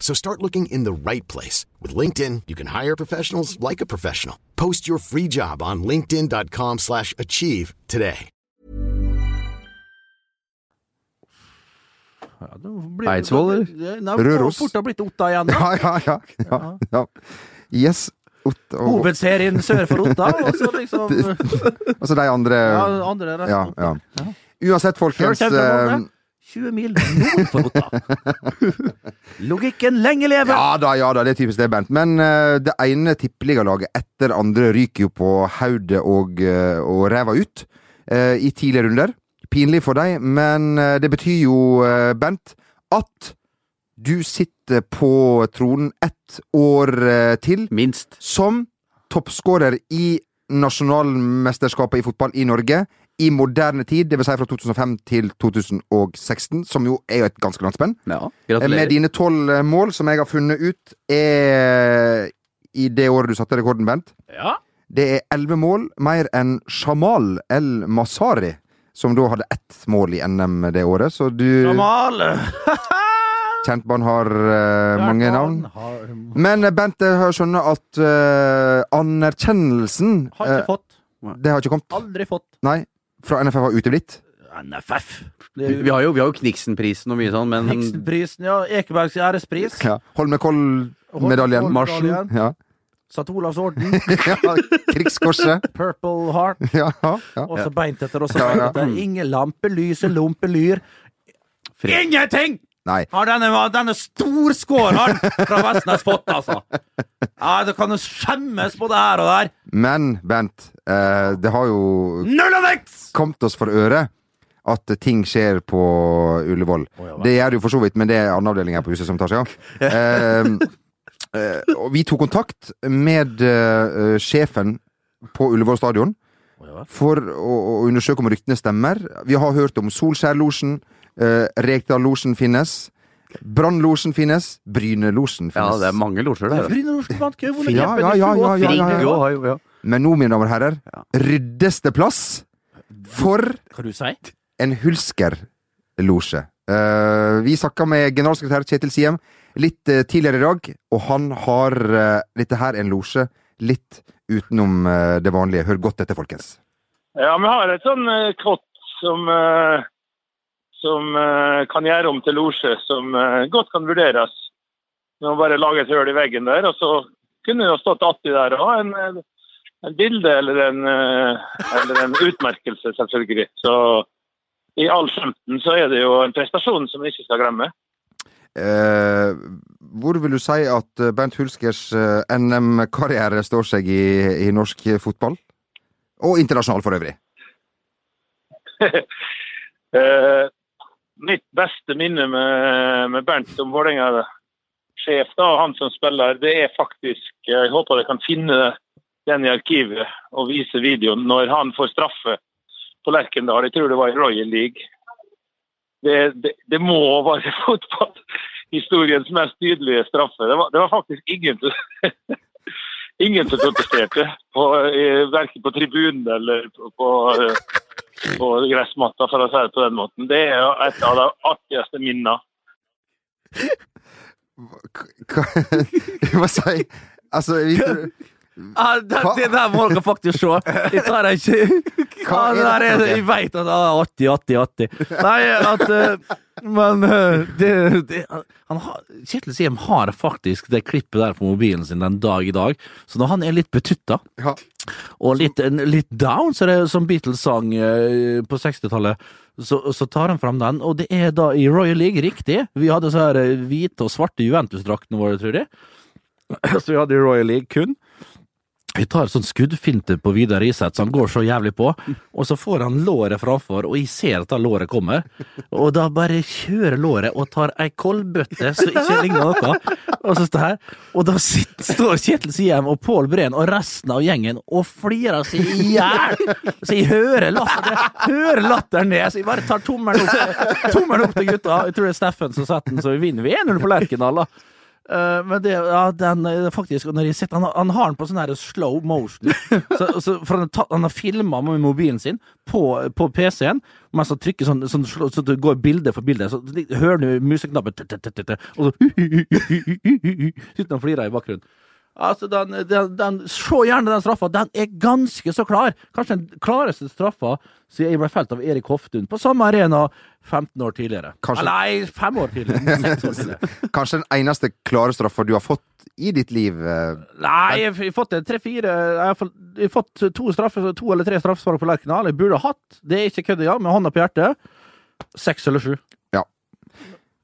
So start looking in the right place. With LinkedIn, you can hire professionals like a professional. Post your free job on linkedin.com/achieve slash achieve today. Ja, nå blir- Eidsvoll, Nei, nå Røros. Fort har blitt Otta igjen. da. (laughs) Ja, ja, ja. ja, ja. Yes. Ott og, Hovedserien sør for Otta, og så (laughs) liksom altså de andre ja, andre resten. Ja, ja. Uansett, folkens Kjør eh, kjempemåte. 20 mil nord for Otta. (laughs) Logikken lenge leve! eh, (laughs) Ja da, ja da, det er typisk det, Bent. Men eh, det ene tippeligalaget etter det andre ryker jo på hodet og, eh, og ræva ut eh, i tidlige runder. Pinlig for deg, men eh, det betyr jo, eh, Bent, at du sitter på tronen ett år eh, til Minst. som toppskårer i nasjonalmesterskapet i fotball i Norge i moderne tid, dvs. Si fra 2005 til 2016, som jo er jo et ganske langt spenn. Ja, Med gratulerer. dine tolv eh, mål, som jeg har funnet ut, er i det året du satte rekorden, Bent. Ja. Det er elleve mål mer enn Shamal El Masari, som da hadde ett mål i NM det året. Så du Jamal! Kjent man har eh, mange navn. Har, um, har Men eh, Bent, jeg har skjønner at eh, anerkjennelsen ikke eh, fått. Det har ikke kommet. Aldri fått. Nei. Fra NFF har uteblitt. NFF. Det er jo Vi har jo, vi har jo Kniksenprisen og mye sånn, men Heksenprisen, ja. Ekebergs ærespris. Ja. Holmenkollmedaljen. Holmenkollmedaljen. Ja. (laughs) St. Olavs orden. ja. Krigskorset. Purple Heart. (laughs) Ja. ja. Og så beint etter, og så Ja, beint ja. etter. Ingen lampe lyser, lompe lyr. Fred. Ingenting! Nei. Ja, denne, var- denne storskåreren fra Vestnes fått, altså. Ja, Du kan jo skjemmes både her og der. Men, Bent, eh, det har jo Null og niks! kommet oss for øre at ting skjer på Ullevål. det gjør det jo for så vidt, men det er en annen avdeling her på huset som tar seg av. Eh, eh, og vi tok kontakt med eh, eh, sjefen på Ullevål stadion for å, å undersøke om ryktene stemmer. Vi har hørt om Solskjærlosjen, uh, Rekdallosjen finnes, Brannlosjen finnes, Brynelosjen Ja, finnes. det er mange losjer der. Brynolfsen vant kø, hvor Ja, ja, ja, ja, ja, ja, ja. Frigg og- ja. Men nå, mine damer og herrer, ryddes det plass for Hva du sier du? en hulskerlosje. Eh, vi snakka med generalsekretær Kjetil Siem litt eh, tidligere i dag, og han har eh, dette her en losje litt utenom eh, det vanlige. Hør godt etter, folkens. Ja, vi har et sånn eh, kott som, eh, som eh, kan gjøre om til losje, som eh, godt kan vurderes. Vi må bare lage et hull i veggen der, og så kunne det jo stått atti der og ha en, en- en bilde eller en, eh, eller en utmerkelse, selvfølgelig. Så i all skjønten så er det jo en prestasjon som vi ikke skal glemme. Eh, hvor vil du si at eh, Bernt Hulskers eh, NM-karriere står seg i, i norsk fotball? Og internasjonal, for øvrig. Eh, mitt beste minne med, med Bernt som Vålerenga-sjef, da, og han som spiller, det er faktisk Jeg håper jeg kan finne den i arkivet og vise videoen når han får straffe på Lerkendal. Jeg tror det var i Royal League. Det, det, det må være fotballhistoriens mest tydelige straffe. Det var, det var faktisk ingen som Ingen som protesterte, på, eh, verken på tribunen eller på, på eh, på gressmatta, for å si det på den måten. Det er jo et av de artigste minnene. K- (laughs) Hva jeg må si Altså, vi, Ja, Ah, det, det der må dere faktisk se. Jeg tar det ikke. Ja, Hva er det der det er, for noe? jeg veit at det er 80, 80, 80. Nei, at eh, Men eh, det, det han har, Kjetil Siem har faktisk det klippet der på mobilen sin den dag i dag, så når han er litt betutta ja. og litt, en- litt down, så det, som Beatles sang eh, på 60-tallet, så, så tar han fram den. Og det er da i Royal League, riktig. Vi hadde så her eh, hvite og svarte Juventus-draktene våre, tror jeg. (laughs) Så vi hadde i Royal League kun. Vi tar sånn skuddfinte på Vidar Iseth, så han går så jævlig på. Og så får han låret framfor, og jeg ser at da låret kommer. Og da bare kjører låret og tar ei koldbøtte som ikke ligner noe. Og så står her, og da sitter, står Kjetil Siem og Pål Breen og resten av gjengen og flirer seg i hjel. Så jeg hører latteren, jeg hører latteren ned, så jeg bare tar tommelen opp, tommelen opp til gutta. Jeg tror det er Steffen som setter den, så vi vinner. Vi er 1-0 på Lerkendal, da. Eh, men det, ja, den eh, faktisk og når jeg sitter, han, han har den på sånn her slow motion. Så, så, for han, har tatt- han har filma med mobilen sin på, på PC-en, mens han trykker sånn, sånn slow- så det går bilde for bilde. Så de- hører du museknappen, tut, tut, tut, tut, og så (laughs) sitter han og flirer i bakgrunnen. Altså, den, den, den, Se gjerne den straffa! Den er ganske så klar! Kanskje den klareste straffa siden jeg ble felt av Erik Hoftun på samme arena 15 år tidligere. Kanskje- Nei, fem år tidligere. Seks år tidligere. Kanskje den eneste klare straffa du har fått i ditt liv. eh, Nei, jeg har fått en tre-fire Jeg har fått- jeg har fått to, straffe, to eller tre straffespark på Lerkendal. Jeg burde ha hatt, det er ikke kødd engang, med hånda på hjertet, seks eller sju.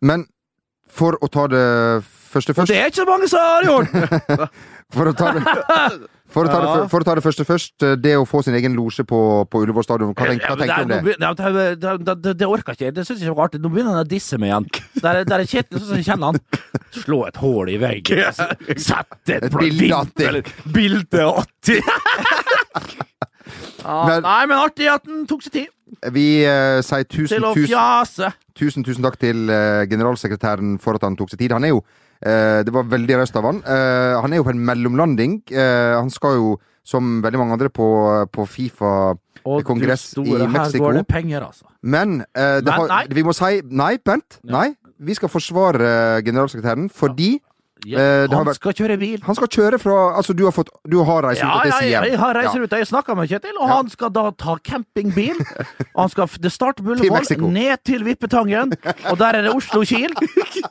Men for å ta det første Og først det er ikke så mange som (laughs) har gjort! For å ta (laughs) det, for å ta det, for å ta det første først. eh, Det å få sin egen losje på, på Ullevål stadion, hva tenker, Ja, hva men tenker du der- om det? nå begynner- ja, det- det- det- Det det orker jeg ikke. Det syns jeg ikke var artig. Nå begynner han å disse meg igjen. Der, er- der er Kjetil sånn som jeg kjenner han. Slå et hull i (laughs) veggen. Sett et Et bilde av det. eller Bilde av (laughs) det. Ja, Men- Nei, men artig at han tok seg tid Vi eh, sier tusen, til å tusen, fjase. tusen, tusen takk til eh, generalsekretæren for at han tok seg tid. Han er jo eh, Det var veldig raust av han. Eh, han er jo på en mellomlanding. Eh, han skal jo, som veldig mange andre, på, på Og du Fifa-kongress store, i Mexico. Her går det penger, altså. Men, eh, det Men, har, nei. vi må si Nei, Bent. Nei. Vi skal forsvare eh, generalsekretæren fordi Ja, Eh, det har han vært- skal kjøre bil. han skal kjøre fra Altså, du har, fått, du har reiseruta Ja, til ja, Siem. jeg, jeg har Ja. reiseruta. Jeg snakka med Kjetil, og Ja. han skal da ta campingbil. Og han skal f- det starter på Til Ullevål, Mexico. ned til Vippetangen, og der er det Oslo-Kiel.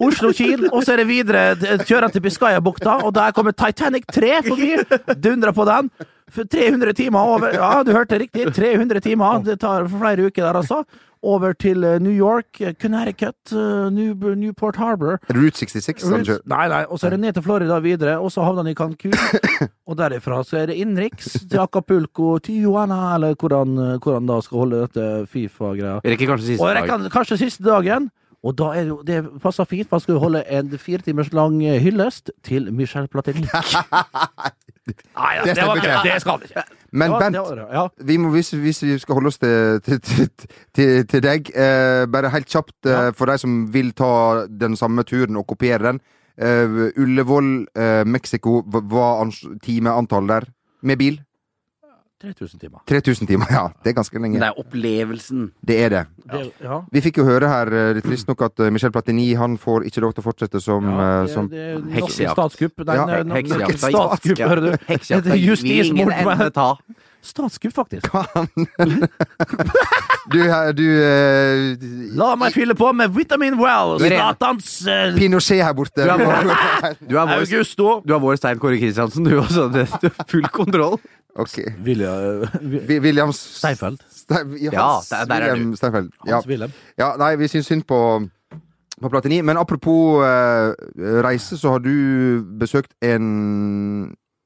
Oslo-Kiel, Og så er det videre d- kjører han til Biscayabukta, og der kommer Titanic 3 forbi. Dundrer på den. For 300 timer over Ja, du hørte riktig. 300 timer. Det tar flere uker der, altså. Over til eh, New York, eh, Connecticut, eh, New, Newport Harbor. Route altså. 66. Han Nei, kjører. nei, og så er det ned til Florida videre, og så havner han (coughs) i Cancún. Og derifra så er det innenriks til Acapulco, Tijuana, eller hvordan, hvordan da skal holde dette Fifa-greia. Jeg rekker kanskje Og siste dag. rekker kanskje siste dagen. Og da er det, jo- det passer fint, for han skal jo holde en fire timers lang eh, hyllest til Michel Platini. (laughs) Nei, ja, Det det, stemmer var ikke. ikke. det skal han ikke. Men Ja, Bent, det var det, ja. vi må, hvis, hvis vi skal holde oss til, til, til, til, til deg, eh, bare helt kjapt eh, for de som vil ta den samme turen og kopiere den. Eh, Ullevål, eh, Mexico, hva hva ans- timeantallet der? Med bil? 3000 timer. 3000 timer, ja. Det er ganske lenge. Det er opplevelsen. Det er det. Det, ja. Vi fikk jo høre her, eh, litt trist nok, at eh, Michel Platini han får ikke lov til å fortsette som, Ja, eh, det- som det er nok heksejakt. Statskupp. Nei, Ja, nei, nok- Heksejakt. nok et Statskupp, hører du. Heksejakt. Det er vil ingen justismord, ende men- ta. Statskupp, faktisk. Du, eh, du eh, La meg fylle på med Vitamin Well, Irene. Statans eh, Pinochet her borte. (laughs) Du er ok. Du er vår, Augusto. du er vår Stein Kåre Kristiansen, du også. Det- Du har full kontroll. William, Vi- William S- Steinfeld. Stein- ja, Ja, Hans der- der er William du. Steinfeld. Ja. Hans Wilhelm. ja, nei, vi syns synd på, på Platini. Men apropos eh, reise, så har du besøkt en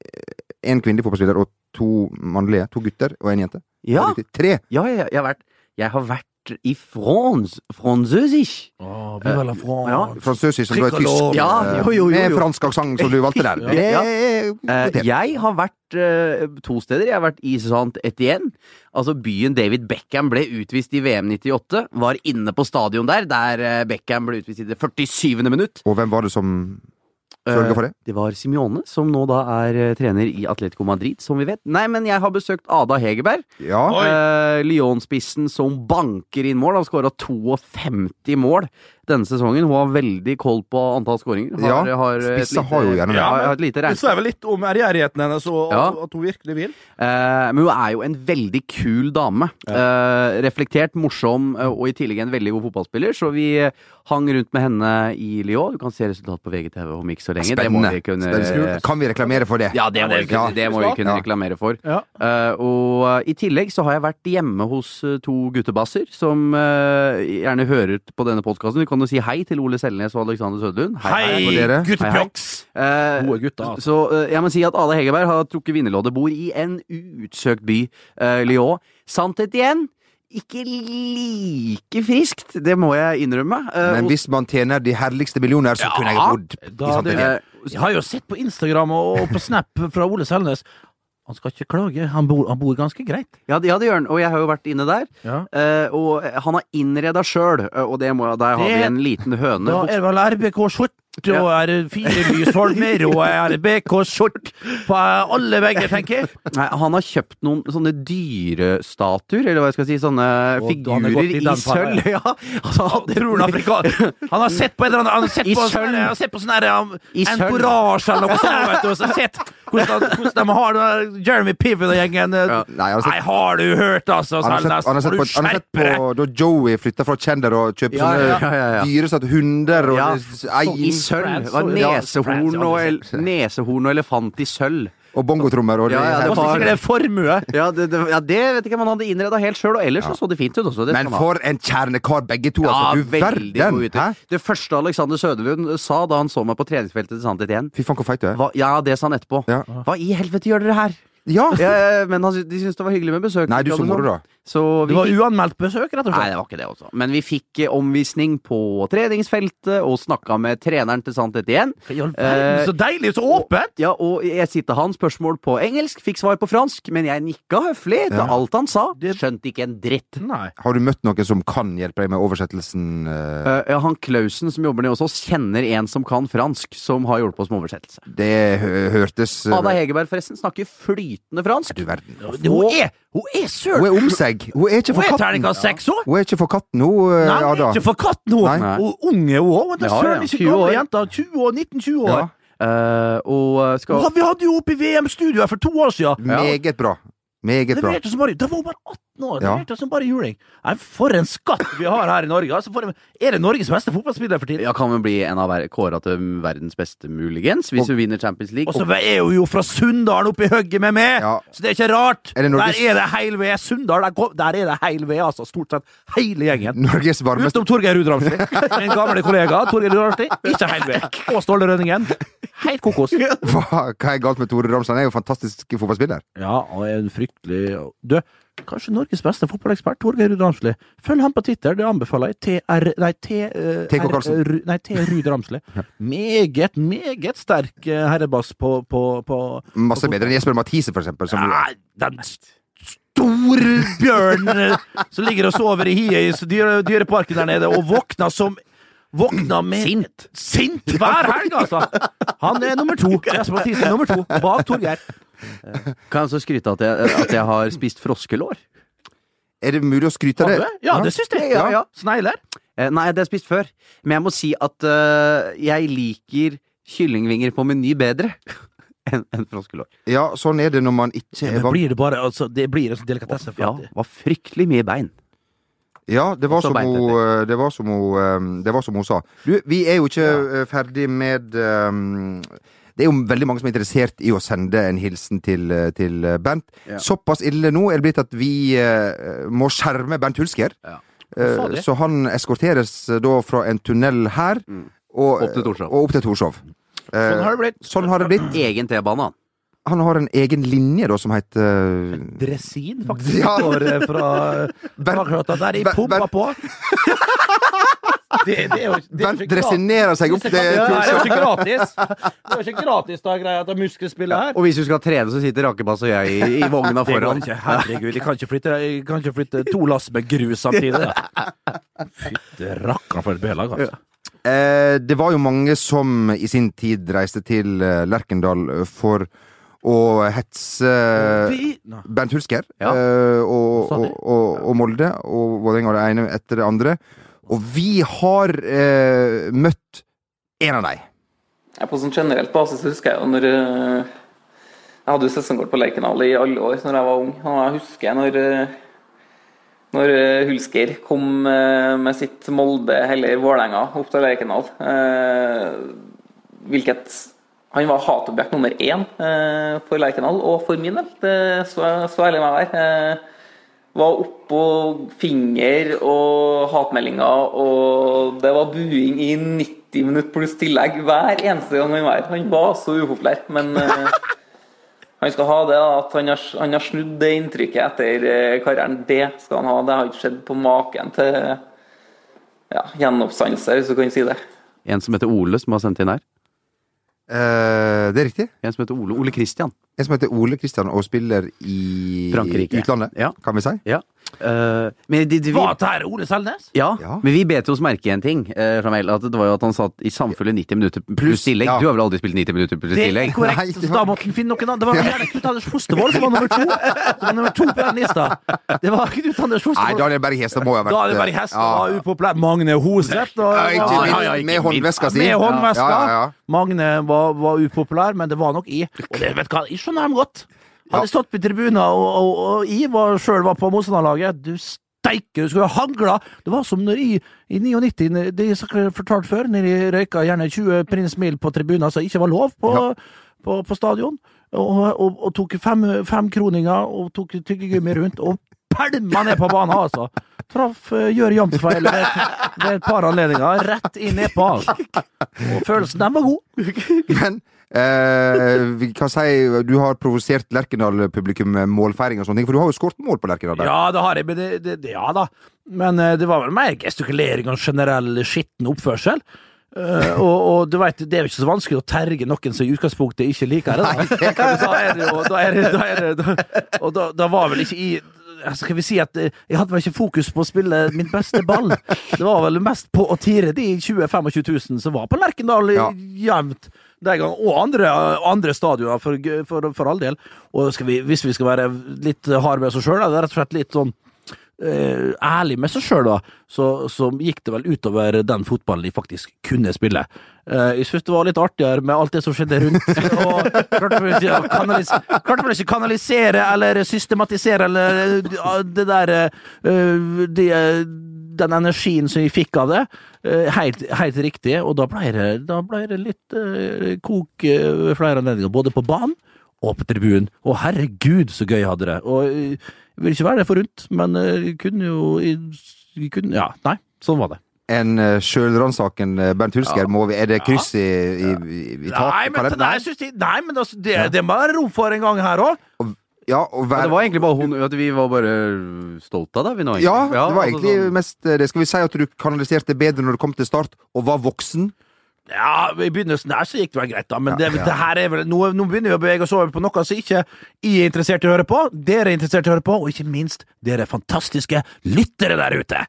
eh, En kvinnelig fotballspiller og to mannlige. To gutter og en jente. Ja, Riktig. Tre! ja, ja, jeg har vært Jeg har vært i France. Franzøsich. Å, Viva la France. Ja, Fransøsisk, som du er tysk. Tricolore. Ja, eh, jo, jo, jo, Med jo. fransk aksent, som du valgte der. Det (laughs) Ja. er Eh, kvalitet. jeg har vært eh, to steder. Jeg har vært i Saint Etienne. Altså byen David Beckham ble utvist i VM 98. Var inne på stadion der, der eh, Beckham ble utvist i det 47. minutt. Og hvem var det som sørga for det? Det var Simione, som nå da er eh, trener i Atletico Madrid, som vi vet. Nei, men jeg har besøkt Ada Hegerberg. Ja. Eh, Lyon-spissen som banker inn mål. Har skåra 52 mål denne sesongen. Hun har veldig koll på antall skåringer. Har- Ja, har, eh, et spisser lite- har jo gjerne det. Ja, har et lite Det regn- sier vel litt om ærgjerrigheten hennes, og at, Ja. at hun virkelig vil. Eh, men hun er jo en veldig kul dame. Eh, reflektert, morsom eh, og i tillegg en veldig god fotballspiller. Så vi eh, hang rundt med henne i Lyon. Du kan se resultatet på VGTV om ikke så lenge. Spennende. Det må vi kunne, eh, Spennende. Kan vi reklamere for det? ja, det må vi kunne, det må vi kunne Ja. reklamere for. Ja. Eh, og eh, i tillegg så har jeg vært hjemme hos eh, to guttebasser som eh, gjerne hører på denne podkasten. Vi kan jo si hei til Ole Selnes og Alexander Sødlund. hei på dere. guttepjokks! Eh, Gode gutter, altså. Så eh, jeg må si at Ada Hegerberg har trukket vinnerloddet, bor i en utsøkt by, eh, Lyon. Sannhet igjen, ikke like friskt, det må jeg innrømme. Eh, Men og- hvis man tjener de herligste millioner, så kunne jeg Ja, bodd da i hadde samtidig. eh, Jeg har jo sett på Instagram og og på Snap fra Ole Selnes. Han skal ikke klage. Han bor, han bor ganske greit. ja, det- ja, det gjør han, og jeg har jo vært inne der. Ja. Eh, og han har innreda sjøl, og det må, der har Det- vi en liten høne. Da er det vel RBK Skjort, og er det fire lysholmer, og er RBK Skjort på alle vegger, tenker jeg. Nei, han har kjøpt noen sånne dyrestatuer, eller hva jeg skal si, sånne Og han har gått figurer i i, den faren, sølv. (laughs) Ja. Altså, han- Tror han afrikaner Han har sett på en eller annen Han har sett I på, sølv. sånn- han har sett på sånn her um, I sølv. Entourage eller noe sånt, vet du. Og så sett hvordan, hvordan de har den der Jeremy Piven og gjengen. Ja. Nei, han har Nei, sett, har du hørt, altså, han har sett, Selnes? han har sett, på, han har sett skjerper deg? på da Joey flytta fra Kjender og kjøpte Ja, ja, sånne ja, ja. dyre satt hunder og Ja, s- eier- I sølv. Det var nesehorn og, el altså. nesehorn og elefant i sølv. og bongotrommer. Og Ja, ja, det Det var- var sikkert en formue. Ja, det, det, ja, det vet ikke om han hadde innreda helt sjøl, og ellers så, så det fint ut også. Det Men skal han ha. for en kjernekar, begge to! ja, altså, du veldig verden! god uttrykk. Hæ? Det første Alexander Søderlund sa da han så meg på treningsfeltet til Sannhet igjen, Fy faen, hvor feit du er. hva, ja, det sa han etterpå. Ja. Hva i helvete gjør dere her? Ja! Eh, men han, sy- de syntes det var hyggelig med besøk. Nei, du ikke så sant? moro, da. Så vi Det var fikk- uanmeldt besøk, rett og Nei, slett. det var ikke det også. Men vi fikk eh, omvisning på treningsfeltet og snakka med treneren til Sant dette igjen. Eh, I all verden, Så deilig, så åpent! Ja, og jeg sitter han spørsmål på engelsk, fikk svar på fransk, men jeg nikka høflig til alt han sa. Skjønte ikke en dritt. Nei. Har du møtt noen som kan hjelpe deg med oversettelsen? eh, Eh, ja, han Klausen som jobber nede hos oss, kjenner en som kan fransk, som har hjulpet oss med oversettelse. Det hø- hørtes eh, Ada Hegerberg forresten snakker flytende fransk. Du verden. Hun er, hun er Hun søren er om seg! Hun er ikke Hun er for katten! terningkast seks, hun! Hun er ikke for katten, hun, eh, Nei, hun er Ada. ikke for katten, hun! Nei. Og unge, hun òg. Det er Ja, ja. søren ikke 20 år. gamle jenter. 20 år, 19-20 år. Ja. Eh, og eh, skal Hva, vi hadde jo oppe i VM-studioet for to år siden. Meget bra. Meget bra. Leverte som bare, da var hun bare 18 år! Ja. Leverte som bare juling! Nei, for en skatt vi har her i Norge! Altså, for en, er det Norges beste fotballspiller for tiden? Ja, kan vel bli en av ver- kåra til verdens beste, muligens, hvis hun vinner Champions League. Og så er hun jo fra Sunndalen oppi hugget med meg! Ja. Så det er ikke rart! Er det Norges- Der er det heil ved! Sunndal, der, kom- der er det heil ved, altså. Stort sett hele gjengen. Norges varmeste Utenom Torgeir Ruud Ramsli. Min gamle kollega Torgeir Ruud Ramsli. Ikke heil ved. Og Ståle Rønningen. Helt kokos. (laughs) Hva, hva er galt med Tore Ramsland? Han er jo en fantastisk fotballspiller. Ja, og er en fryktelig Du, kanskje Norges beste fotballekspert, Torgeir Ruud Ramsli. Følg ham på Twitter, det anbefaler jeg. TR... Nei, T... eh, TK R- Karlsen. Ru- Nei, T. Ruud Ramsli. Meget, meget sterk eh, herrebass på, på, på Masse bedre enn Jesper Mathisen, for eksempel. Som, Nei, den store bjørnen eh, som ligger og sover i hiet i s- dyre, dyreparken der nede, og våkner som Våkna med Sint! Sint hver helg, altså! Han er (laughs) nummer to. Jesper Mathisen er nummer to, bak Torgeir. Kan jeg også skryte at jeg, at jeg (laughs) har spist froskelår? er det mulig å skryte Har av du det? det? Ja, det syns jeg. Ja, ja. Snegler. Eh, Nei, det har jeg spist før. Men jeg må si at eh, jeg liker kyllingvinger på meny bedre (laughs) enn enn froskelår. Ja, sånn er det når man ikke Ja, er men varm. blir det bare altså, Det blir en sånn delikatesse. Ja, For at- var fryktelig mye bein. Ja, det var, Også som beint hun, eh, det, var som hun, eh, det var som hun sa. Du, vi er jo ikke eh, ferdig med eh, Det er jo veldig mange som er interessert i å sende en hilsen til, eh, til eh, Bernt. Ja. Såpass ille nå er det blitt at vi eh, må skjerme Bernt Hulsker. Ja. Eh, Hva sa de? så han eskorteres eh, da fra en tunnel her og Mm. Opp til Torshov. og opp til Torshov. Eh, Sånn har det blitt. sånn har det blitt. Egen T-bane, han. Han har en egen linje da som heter Dresin, faktisk. Ja. Går eh, (laughs) fra bakgata der i Ber- pumpa Ber- (laughs) på. Det, det er jo det er jo Bernt ikke gratis. dresinerer seg opp Det til er jo Torshov. ikke gratis, det er jo ikke gratis da, greia at det er muskelspillet her. Og hvis du skal trene, så sitter Rakebass og jeg i, i (laughs) vogna Det går foran. ikke. Herregud, jeg kan ikke flytte, jeg kan ikke flytte to lass med grus samtidig. da. (laughs) Fytte rakkeren for et B-lag, altså. Eh, det var jo mange som i sin tid reiste til eh, Lerkendal eh, for å hetse eh, Vi- Nei. Bernt Hulsker Ja. eh, og, Sa de? og, og, og Molde og Vålerenga det ene etter det andre. Og vi har eh, møtt en av dem. Ja, på sånn generelt basis husker jeg jo når eh, Jeg hadde jo sesongkort på Lerkendal i alle år når jeg var ung. Og jeg husker når, eh, når eh, Hulsker kom eh, med sitt Molde eller Vålerenga opp til Lerkendal. eh, Hvilket Han var hatobjekt nummer én eh, for Lerkendal, og for min del. Det, så, så ærlig må jeg være. Eh, var oppå finger og hatmeldinger, og det var buing i 90 minutter pluss tillegg hver eneste gang han var her. Han var så upopulær, men eh, han skal ha det da, at han har, han har snudd det inntrykket etter eh, karrieren. Det skal han ha. Det har ikke skjedd på maken til ja, gjenoppstandelse, hvis du kan si det. En som heter Ole, som har sendt inn her. Eh, det er riktig. En som heter Ole, Ole Christian. En som heter Ole Kristian og spiller i Frankrike. utlandet, Ja. kan vi si. Ja. Eh, men de, de, vi, Var dette her Ole Selnes? ja, Ja. men vi bet oss merke i en ting. eh, Jamel, at det var jo at han satt i samfunnet 90 minutter pluss tillegg. ja. Du har vel aldri spilt 90 minutter pluss Det er tillegg? Nei, korrekt. det så var- Da måtte han finne noen andre. Det var gjerne Knut Anders Fostervold som var nummer to. Som var nummer to på den lista. Det var Knut Nei, Anders Fostervold. Daniel Berg Hestad må jo ha vært Da er det bare eh, hest og var upopulær. Magne Hoseth. Og, Ja, ikke minst, Ja, ja, med håndveska si. Med håndveska. Ja, ja, ja. Magne var, var upopulær, men det var nok I. Og det vet du hva, jeg skjønner dem godt. Hadde stått på tribunen, og, og, og I var, sjøl var på motstanderlaget. Du steike, du skulle ha hagla! Det var som når I i 99, når- det jeg sak- fortalte før, når de røyka gjerne 20 prins mil på tribuner som ikke var lov på, på, på stadion, og, og, og tok fem, fem kroninger og tok tyggegummi rundt og pælma ned på banen, altså! Traff uh, Gjør jamsfeil ved, ved et par anledninger, rett inn nedpå. Og følelsen, den var god. Men eh, vi kan si du har provosert Lerkendal-publikum med målfeiring og sånne ting, for du har jo skåret mål på Lerkendal. Berg. Ja, det har jeg, men det, det, det, ja da. Men eh, det var vel mer gestikulering og generell skitten oppførsel. Eh, og, og du vet, det er jo ikke så vanskelig å terge noen som i utgangspunktet ikke liker det. Da, da er det jo da er det, da er det, da, Og da, da var vel ikke i ja, skal vi si at eh, Jeg hadde vel ikke fokus på å spille min beste ball. Det var vel mest på å tire de 20 000-25 000 som var på Lerkendal eh, Ja. jevnt. Den gang, og andre, andre stadioner, for, for, for all del. Og skal vi, hvis vi skal være litt harde med oss sjøl, er det rett og slett litt sånn eh, ærlig med seg sjøl, da, så, så gikk det vel utover den fotballen de faktisk kunne spille. Eh, jeg syns det var litt artigere med alt det som skjedde rundt. og Klarte vel ikke å kanalis- klarte vel ikke å kanalisere eller systematisere eller eh, det der eh, de, eh, den energien som vi fikk av det. eh, Helt, helt riktig, og da ble det, da ble det litt eh, kok eh, ved flere anledninger, både på banen og på tribunen. Å, herregud, så gøy jeg hadde det. Og eh, jeg vil ikke være det forunt, men eh, jeg kunne jo jeg kunne, Ja, nei, sånn var det. En uh, sjølransakende Bernt Hulsker, Ja. må vi, er det kryss i, i, i, i Nei, taket? men, Kan det- nei, jeg synes de- nei, men altså, det, det må være rom for en gang her òg. Ja, og Ja, vær, det var egentlig bare hun at vi var bare stolte av deg, vi nå. egentlig. ja, det var altså egentlig sånn- mest eh, det. Skal vi si at du kanaliserte bedre når du kom til start, og var voksen? Ja, I begynnelsen der så gikk det vel greit, da, men det, det her er vel, nå, nå begynner vi å bevege oss over på noe som ikke jeg er interessert i å høre på. Dere er interessert i å høre på, og ikke minst dere fantastiske lyttere der ute.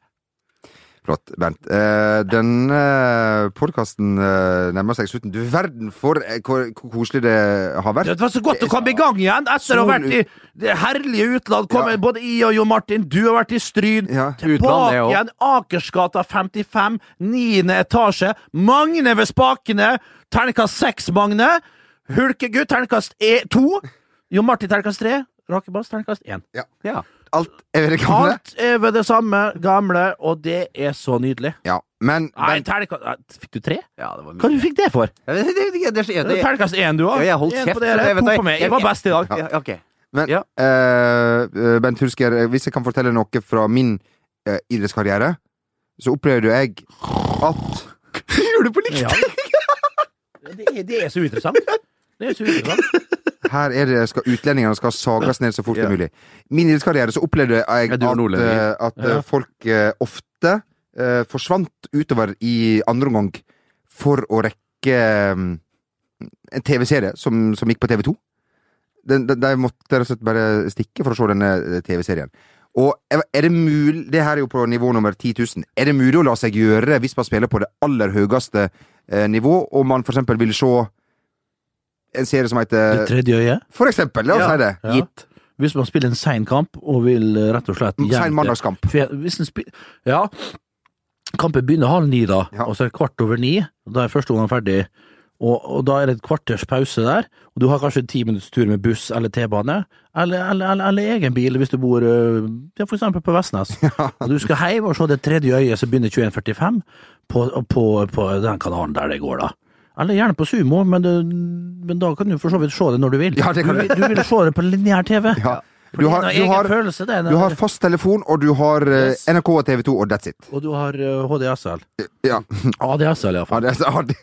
Flott, Bernt. Eh, denne podkasten eh, nærmer seg slutten. Du verden for eh, hvor, hvor koselig det har vært. Det var så godt å komme i gang igjen etter å ha vært i det herlige utland. Kom, Ja. Både I og Jo Martin, du har vært i Stryn. Ja. Utland, Tilbake det også. igjen. Akersgata 55, 9. etasje. Magne ved spakene. Terningkast 6, Magne. Hulkegutt, terningkast 2. Jo Martin, terningkast 3. Rakebass, terningkast 1. Ja. Alt er ved det gamle. Alt er ved det samme gamle, og det er så nydelig. Ja, men Nei, Bernt, terningkast Nei, Fikk du tre? ja, det var Hva du fikk det for? Ja, det, det, det, det, det, Det er Terningkast 1, du òg. Ja, jeg holdt kjeft, så jeg vet To det. på meg. Jeg- Jeg var best i dag. ja, ok. men Ja. eh, eh, Bernt Hulsker, eh, hvis jeg kan fortelle noe fra min eh, idrettskarriere, så opplevde jo jeg at Gjorde du på likt? Ja. Det, er, det er så interessant. Det er så (laughs) interessant. Her er det, skal utlendingene skal sages ned så fort Ja. som mulig. Min idrettskarriere så opplevde jeg Ja, du var at, nordlending. eh, at eh, Ja. folk eh, ofte eh, forsvant utover i andre omgang for å rekke mm, en TV-serie som, som gikk på TV2. De, de, de måtte rett og slett bare stikke for å se denne eh, TV-serien. Og er er det mulig Det her er jo på nivå nummer 10 000. Er det mulig å la seg gjøre hvis man spiller på det aller høyeste eh, nivå, og man for eksempel vil se en serie som heter tredje øyet. for eksempel, la oss Ja. si det. Gitt. Hvis man spiller en sein kamp og vil eh, rett og slett Sein mandagskamp. Hvis en spiller Ja. Kampen begynner halv ni, da, Ja. og så er det kvart over ni. og Da er første omgang ferdig. Og, og da er det et kvarters pause der, og du har kanskje en ti minutts tur med buss eller T-bane, eller, eller, eller, eller egen bil hvis du bor øh, ja, for eksempel på Vestnes. Og du skal hjem og se det tredje øyet som begynner 21.45 på, på, på den kanalen der det går, da. Eller gjerne på Sumo, men, det- men da kan du for så vidt se det når du vil. Ja, det kan du, du. vil- du vil se det på lineær TV. Ja. For Du det er har, en du, egen har, følelse, det. er en- du har fast telefon, og du har eh, Yes. NRK og TV 2, og that's it. Og du har øh, HDSL. Ja. ADSL, Ja, iallfall. det, ja, (laughs) det.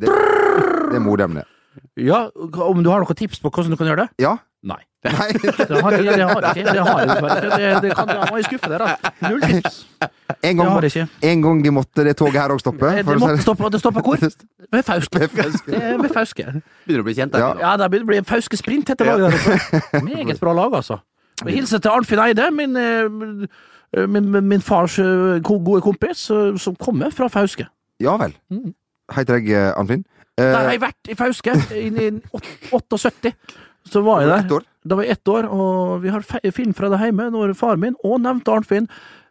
det, det er modemene. Ja, om du har noen tips på hvordan du kan gjøre det? Ja? Nei. (laughs) Nei? (laughs) Det har, det har jeg ikke. Det har jeg bare ikke. Det, det kan, da må jeg skuffe dere. altså. Null tips. En Det gang, må- har jeg ikke. Eh, en gang måtte det toget her òg stoppe. Det, for å det si måtte det. stoppe, det stopper (laughs) hvor? Ved Fauske. Det er Ved Fauske. Begynner å bli Ja. kjent. Der, Ja, det begynner å bli en Fauske-sprint etter laget der oppe. Meget bra lag, (laughs) altså. Og Hilse til Arnfinn Eide, min, eh, min, min, min fars eh, ko- gode kompis, eh, som kommer fra Fauske. Ja vel. Mm. Heter jeg eh, Arnfinn? Der har Eh, jeg vært i Fauske, i i åt- 78. Så var jeg ett der. år. Da var jeg ett år, og vi har fe- film fra det hjemme når far min og nevnte Arnfinn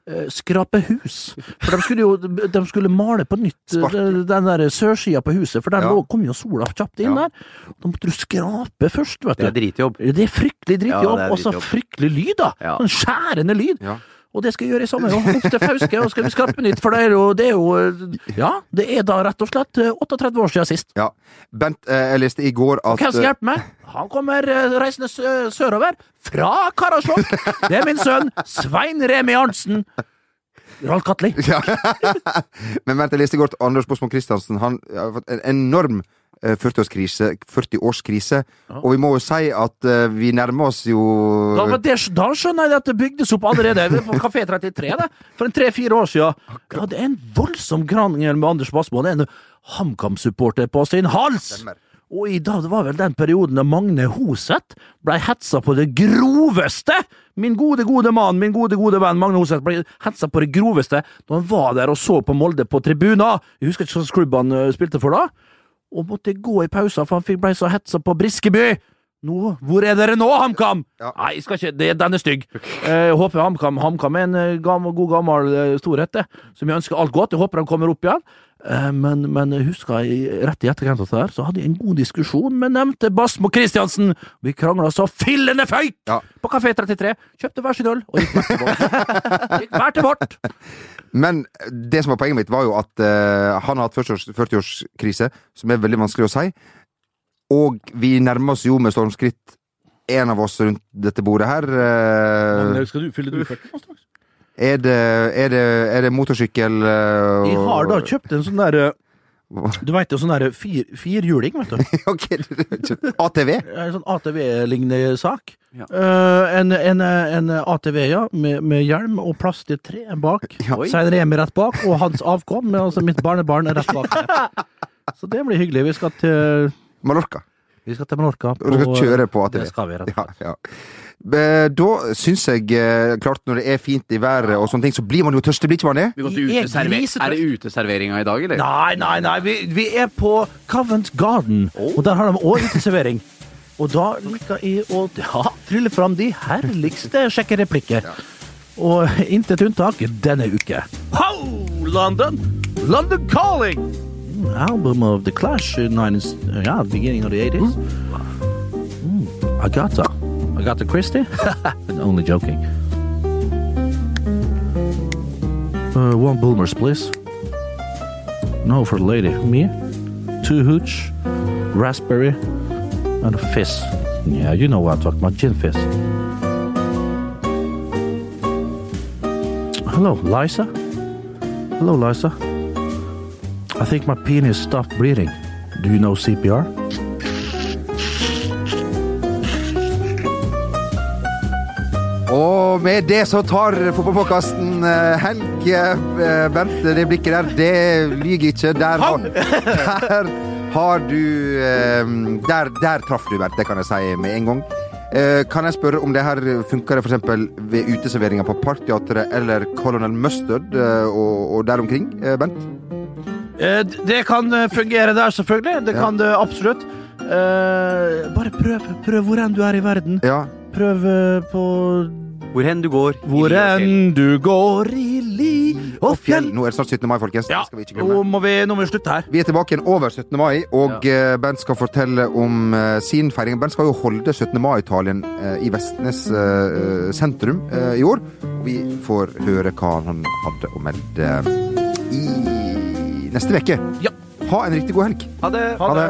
eh, skraper hus. For de skulle jo de skulle male på nytt eh, Sparke. den der sørsida på huset, for der Ja. lå, kom jo sola kjapt inn Ja. der. Da måtte du skrape først, vet det er du. dritjobb. Det er fryktelig drittjobb, Ja, det er og så drittjobb. fryktelig lyd, da. Ja. Sånn skjærende lyd. Ja. Og det skal jeg gjøre i sommer òg. Opp til Fauske, og skal vi skrape nytt. For det er jo, det er jo Ja, det er da rett og slett eh, 38 år siden sist. Ja. Bent, eh, jeg leste i går at eh, Hvem skal hjelpe meg? Han kommer eh, reisende sø sørover fra Karasjok. Det er min sønn Svein Remi Arntzen. Ralf Katli. Ja. Men vent, jeg leste godt Anders Bosmo Christiansen. Han har fått en enorm eh, 40-årskrise. 40-årskrise Og vi må jo si at eh, vi nærmer oss jo Da, var det, da skjønner jeg at det bygdes opp allerede Vi er på Kafé 33 det, for en tre-fire år siden. Jeg hadde en voldsom krangel med Anders Bassmo. Han er en HamKam-supporter på sin hals! Stemmer. Og i dag, det var vel den perioden da Magne Hoseth blei hetsa på det groveste! Min gode, gode mann, min gode, gode venn Magne Hoseth blei hetsa på det groveste da han var der og så på Molde på tribunen! Jeg husker ikke hva eh, slags klubb han ø, spilte for da, og måtte gå i pausen for han fikk- blei så hetsa på Briskeby! nå, Hvor er dere nå, HamKam?! Nei, jeg skal ikke, det, den er stygg. Eh, Jeg håper HamKam HamKam er en eh, gam- god gammel eh, storhet, det, som jeg ønsker alt godt. Jeg håper de kommer opp igjen. Eh, Men, men husker jeg rett i etterkant av det her, så hadde jeg en god diskusjon med nevnte Basmo Christiansen! Vi krangla så fillende føyt! Ja. På Kafé 33. Kjøpte hver sin øl og gikk hver til vårt. Gikk hver til vårt. Men det som var poenget mitt, var jo at eh, han har hatt 40-års- 40-årskrise, som er veldig vanskelig å si. Og vi nærmer oss jo med stormskritt en av oss rundt dette bordet her. (laughs) eh, Skal du fylle du 40 nå straks? er, det, er, det, er det motorsykkel eh, Jeg har da og- kjøpt en sånn derre Du veit jo, sånn derre fir, firhjuling, vet du. (laughs) Ok, du har kjøpt ATV? En sånn ATV-lignende sak. Ja. Eh, en, en, en ATV, ja, med, med hjelm og plass til tre bak. Oi. Svein Remi rett bak, og hans avkom, men altså mitt barnebarn, er rett bak. meg. Så det blir hyggelig. Vi skal til, Mallorca. vi skal til Menorca. Og du skal kjøre på ATV. eh, Det skal vi, rett og Ja, ja. Eh, Da syns jeg eh, klart når det er fint i været og sånne ting, så blir man jo tørst. Det blir ikke man det? Vi går Vi til er uteserver- grisetørst. Er det uteserveringa i dag, eller? Nei, nei, nei. Vi, vi er på Covent Garden, og der har de òg uteservering. Og da liker jeg å ja, trylle fram de herligste kjekke replikker. Og intet unntak denne uke. Ho, London! London calling! Mm, Album of The Clash in nine, yeah, beginning of the 80s. Mm, Agatha. Agatha Christie? (laughs) Only joking. Uh, one boomers, please. No, for the lady. Me? Two hooch, raspberry, and a fizz. Yeah, you know what I'm talking about. Gin fizz. Hello, Liza? Hello, Liza. I think my penis stopped breathing. Do you know CPR? Og med det så tar fotballpåkasten eh, helg. eh, Bernt, det blikket der, det lyver ikke. Der har, (laughs) der har du eh, der, der traff du, Bernt. Det kan jeg si med en gang. Eh, Kan jeg spørre om det her funker det f.eks. ved uteserveringer på Parkteatret eller Colonel Mustard eh, og, og der omkring, eh, Bernt? Eh, det kan fungere der, selvfølgelig. Det Ja. kan det absolutt. Eh, bare prøv, prøv hvor enn du er i verden. Ja. Prøv eh, på Hvor hen du går. i Hvor liv og sjel. enn du går i li og fjell Nå er det snart 17. mai, folkens. Det Ja, Oh. skal vi ikke glemme. nå må vi, nå må vi slutte her. Vi er tilbake igjen over 17. mai, og eh, Bernt skal fortelle om eh, sin feiring. Bernt skal jo holde 17. mai-italien eh, i Vestnes eh, eh, sentrum eh, i år. Og vi får høre hva han hadde å melde i neste uke. Ja. Ha en riktig god helg. Ha det! Ha det.